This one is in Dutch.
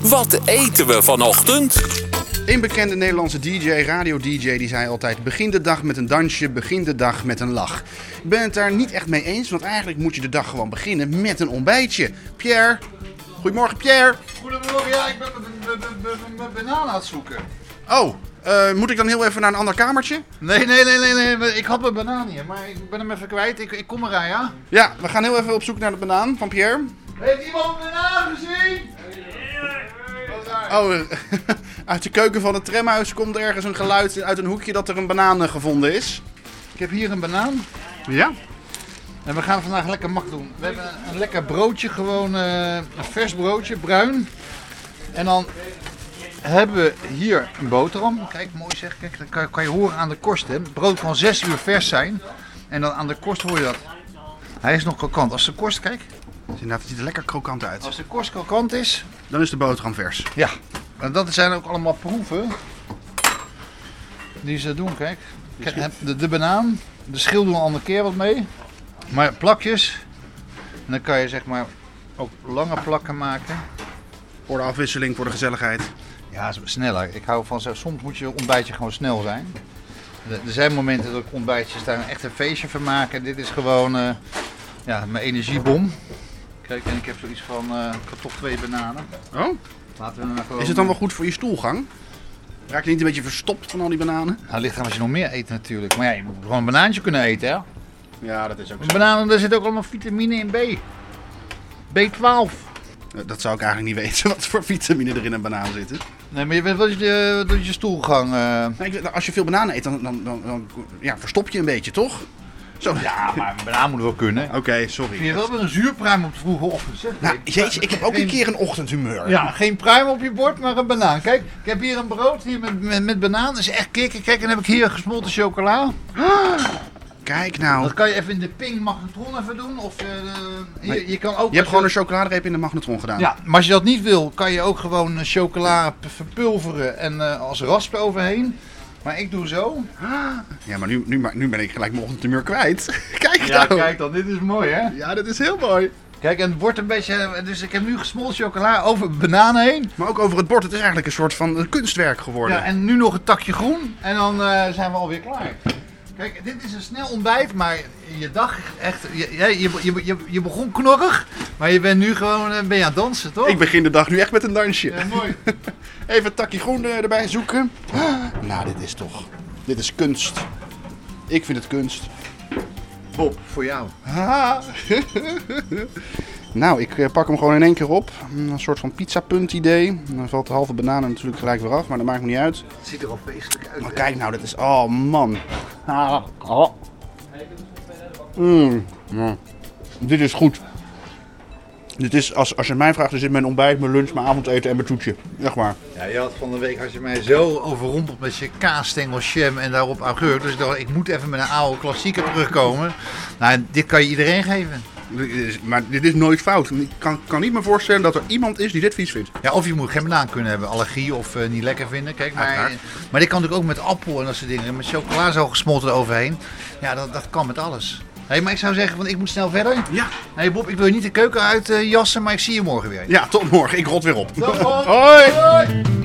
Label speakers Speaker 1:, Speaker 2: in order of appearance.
Speaker 1: Wat eten we vanochtend?
Speaker 2: Een bekende Nederlandse DJ, radio-DJ, die zei altijd: begin de dag met een dansje, begin de dag met een lach. Ik ben het daar niet echt mee eens, want eigenlijk moet je de dag gewoon beginnen met een ontbijtje. Pierre, goedemorgen Pierre.
Speaker 3: Goedemorgen, ja, ik ben mijn banaan aan het zoeken.
Speaker 2: Oh, eh, moet ik dan heel even naar een ander kamertje?
Speaker 3: Nee, nee, nee, nee, nee, maar ik had mijn banaan hier, maar ik ben hem even kwijt. Ik, ik kom eraan, ja?
Speaker 2: Ja, we gaan heel even op zoek naar de banaan van Pierre.
Speaker 3: Heeft iemand mijn banaan gezien? Wat raar.
Speaker 2: Oh, eh, uit de keuken van het tramhuis komt ergens een geluid uit een hoekje dat er een banaan eh, gevonden is.
Speaker 3: Ik heb hier een banaan
Speaker 2: Ja?
Speaker 3: en we gaan vandaag lekker mak doen. We hebben een, een lekker broodje, gewoon eh, een vers broodje, bruin. En dan hebben we hier een boterham. Kijk, mooi zeg, kijk, dan kan, kan je horen aan de korst, hè. Het brood kan 6 uur vers zijn en dan aan de korst hoor je dat. Hij is nog krokant. Als de korst, kijk,
Speaker 2: Dus inderdaad, het ziet er lekker krokant uit.
Speaker 3: als de korst krokant is,
Speaker 2: Dan is de boterham vers.
Speaker 3: Ja, en dat zijn ook allemaal proeven die ze doen. Kijk, Kijk, heb de, de banaan, de schil doen we een andere keer wat mee. Maar plakjes, en dan kan je zeg maar ook lange plakken maken.
Speaker 2: Voor de afwisseling, voor de gezelligheid.
Speaker 3: Ja, is sneller. Ik hou van zo- soms moet je ontbijtje gewoon snel zijn. Er er zijn momenten dat ik ontbijtjes daar echt een feestje van maak. En dit is gewoon eh, ja, mijn energiebom. Kijk, en ik heb zoiets van, eh, ik had toch twee bananen.
Speaker 2: Oh?
Speaker 3: Laten we hem maar gewoon...
Speaker 2: Is het dan wel goed voor je stoelgang? Raak je niet een beetje verstopt van al die bananen?
Speaker 3: Nou, ligt aan als je nog meer eet natuurlijk. Maar ja, je moet gewoon een banaantje kunnen eten, hè?
Speaker 2: Ja, dat is ook
Speaker 3: Een banaan, daar zit ook allemaal vitamine in B. B12.
Speaker 2: Eh, Dat zou ik eigenlijk niet weten, wat voor vitamine er in een banaan zitten.
Speaker 3: Nee, maar je weet, wat is je, wat is je stoelgang? eh?
Speaker 2: Nou, ik weet- als je veel bananen eet, dan, dan, dan, dan ja, verstop je een beetje, toch? Zo.
Speaker 3: Ja, maar een banaan moet wel kunnen.
Speaker 2: Oké,
Speaker 3: Vind je
Speaker 2: sorry.
Speaker 3: wel weer een zuurpruim op de vroege ochtend, zeg.
Speaker 2: Nou, jeetje, ik heb ook een keer een ochtendhumeur.
Speaker 3: Ja, geen pruim op je bord, maar een banaan. Kijk, ik heb hier een brood hier met, met, met banaan. Dat is echt kikker. Kijk, en dan heb ik hier gesmolten chocola.
Speaker 2: Oh. Kijk
Speaker 3: Dat
Speaker 2: nou.
Speaker 3: kan je even in de ping magnetron even doen. Of eh, hier,
Speaker 2: Maar
Speaker 3: je, kan ook...
Speaker 2: Je hebt
Speaker 3: als
Speaker 2: gewoon een chocoladereep in de magnetron gedaan.
Speaker 3: Ja, maar als je dat niet wil, kan je ook gewoon eh, chocola p- verpulveren en eh, als rasp overheen. Maar ik doe zo.
Speaker 2: Ja, maar nu, nu, ma- nu ben ik gelijk mijn ochtendhumeur kwijt. Kijk nou.
Speaker 3: dan, dit is mooi hè.
Speaker 2: Ja, dat is heel mooi.
Speaker 3: Kijk, en het wordt een beetje, dus ik heb nu gesmolten chocola over bananen heen.
Speaker 2: Maar ook over het bord, het is eigenlijk een soort van eh, kunstwerk geworden.
Speaker 3: Ja, en nu nog een takje groen en dan eh, zijn we alweer klaar. Kijk, dit is een snel ontbijt, maar je dag echt, je, jij- je, je, je, je begon knorrig, maar je bent nu gewoon, eh, ben je aan het dansen toch?
Speaker 2: Ik begin de dag nu echt met een dansje.
Speaker 3: Ja, mooi.
Speaker 2: Even een takje groen eh, erbij zoeken. Ah, Nou, dit is toch. Dit is kunst. Ik vind het kunst.
Speaker 3: Bob, voor jou.
Speaker 2: Haha. nou, ik eh, pak hem gewoon in één keer op. Mm, Een soort van pizzapunt idee. Dan valt de halve banaan er natuurlijk gelijk weer af, maar dat maakt me niet uit.
Speaker 3: Het ziet er al feestelijk uit.
Speaker 2: Maar
Speaker 3: hè?
Speaker 2: kijk nou, dit is. Oh man. Ah, ah. Mm, mm. Dit is goed. Dit is, als, als je het mij vraagt, dan zit mijn ontbijt, mijn lunch, mijn avondeten en mijn toetje. Echt waar.
Speaker 3: Ja, je had van de week had je mij zo overrompeld met je kaasstengel, jam en daarop augurk. Dus ik dacht, ik moet even met een oude klassieker terugkomen. Nou, dit kan je iedereen geven.
Speaker 2: Dit is- maar dit is nooit fout. Ik kan, kan niet me voorstellen dat er iemand is die dit vies vindt.
Speaker 3: Ja, of je moet geen banaan kunnen hebben, allergie of eh, niet lekker vinden. Kijk, maar,
Speaker 2: Uiteraard.
Speaker 3: maar dit kan natuurlijk ook met appel en dat soort dingen. Met chocola zo gesmolten overheen. Ja, dat, dat kan met alles. Hé, maar ik zou zeggen, want ik moet snel verder.
Speaker 2: Ja.
Speaker 3: Hé Bob, ik wil je niet de keuken uit eh, jassen, maar ik zie je morgen weer.
Speaker 2: Ja, tot morgen. Ik rot weer op.
Speaker 3: Tot morgen.
Speaker 2: Hoi.
Speaker 3: Hoi.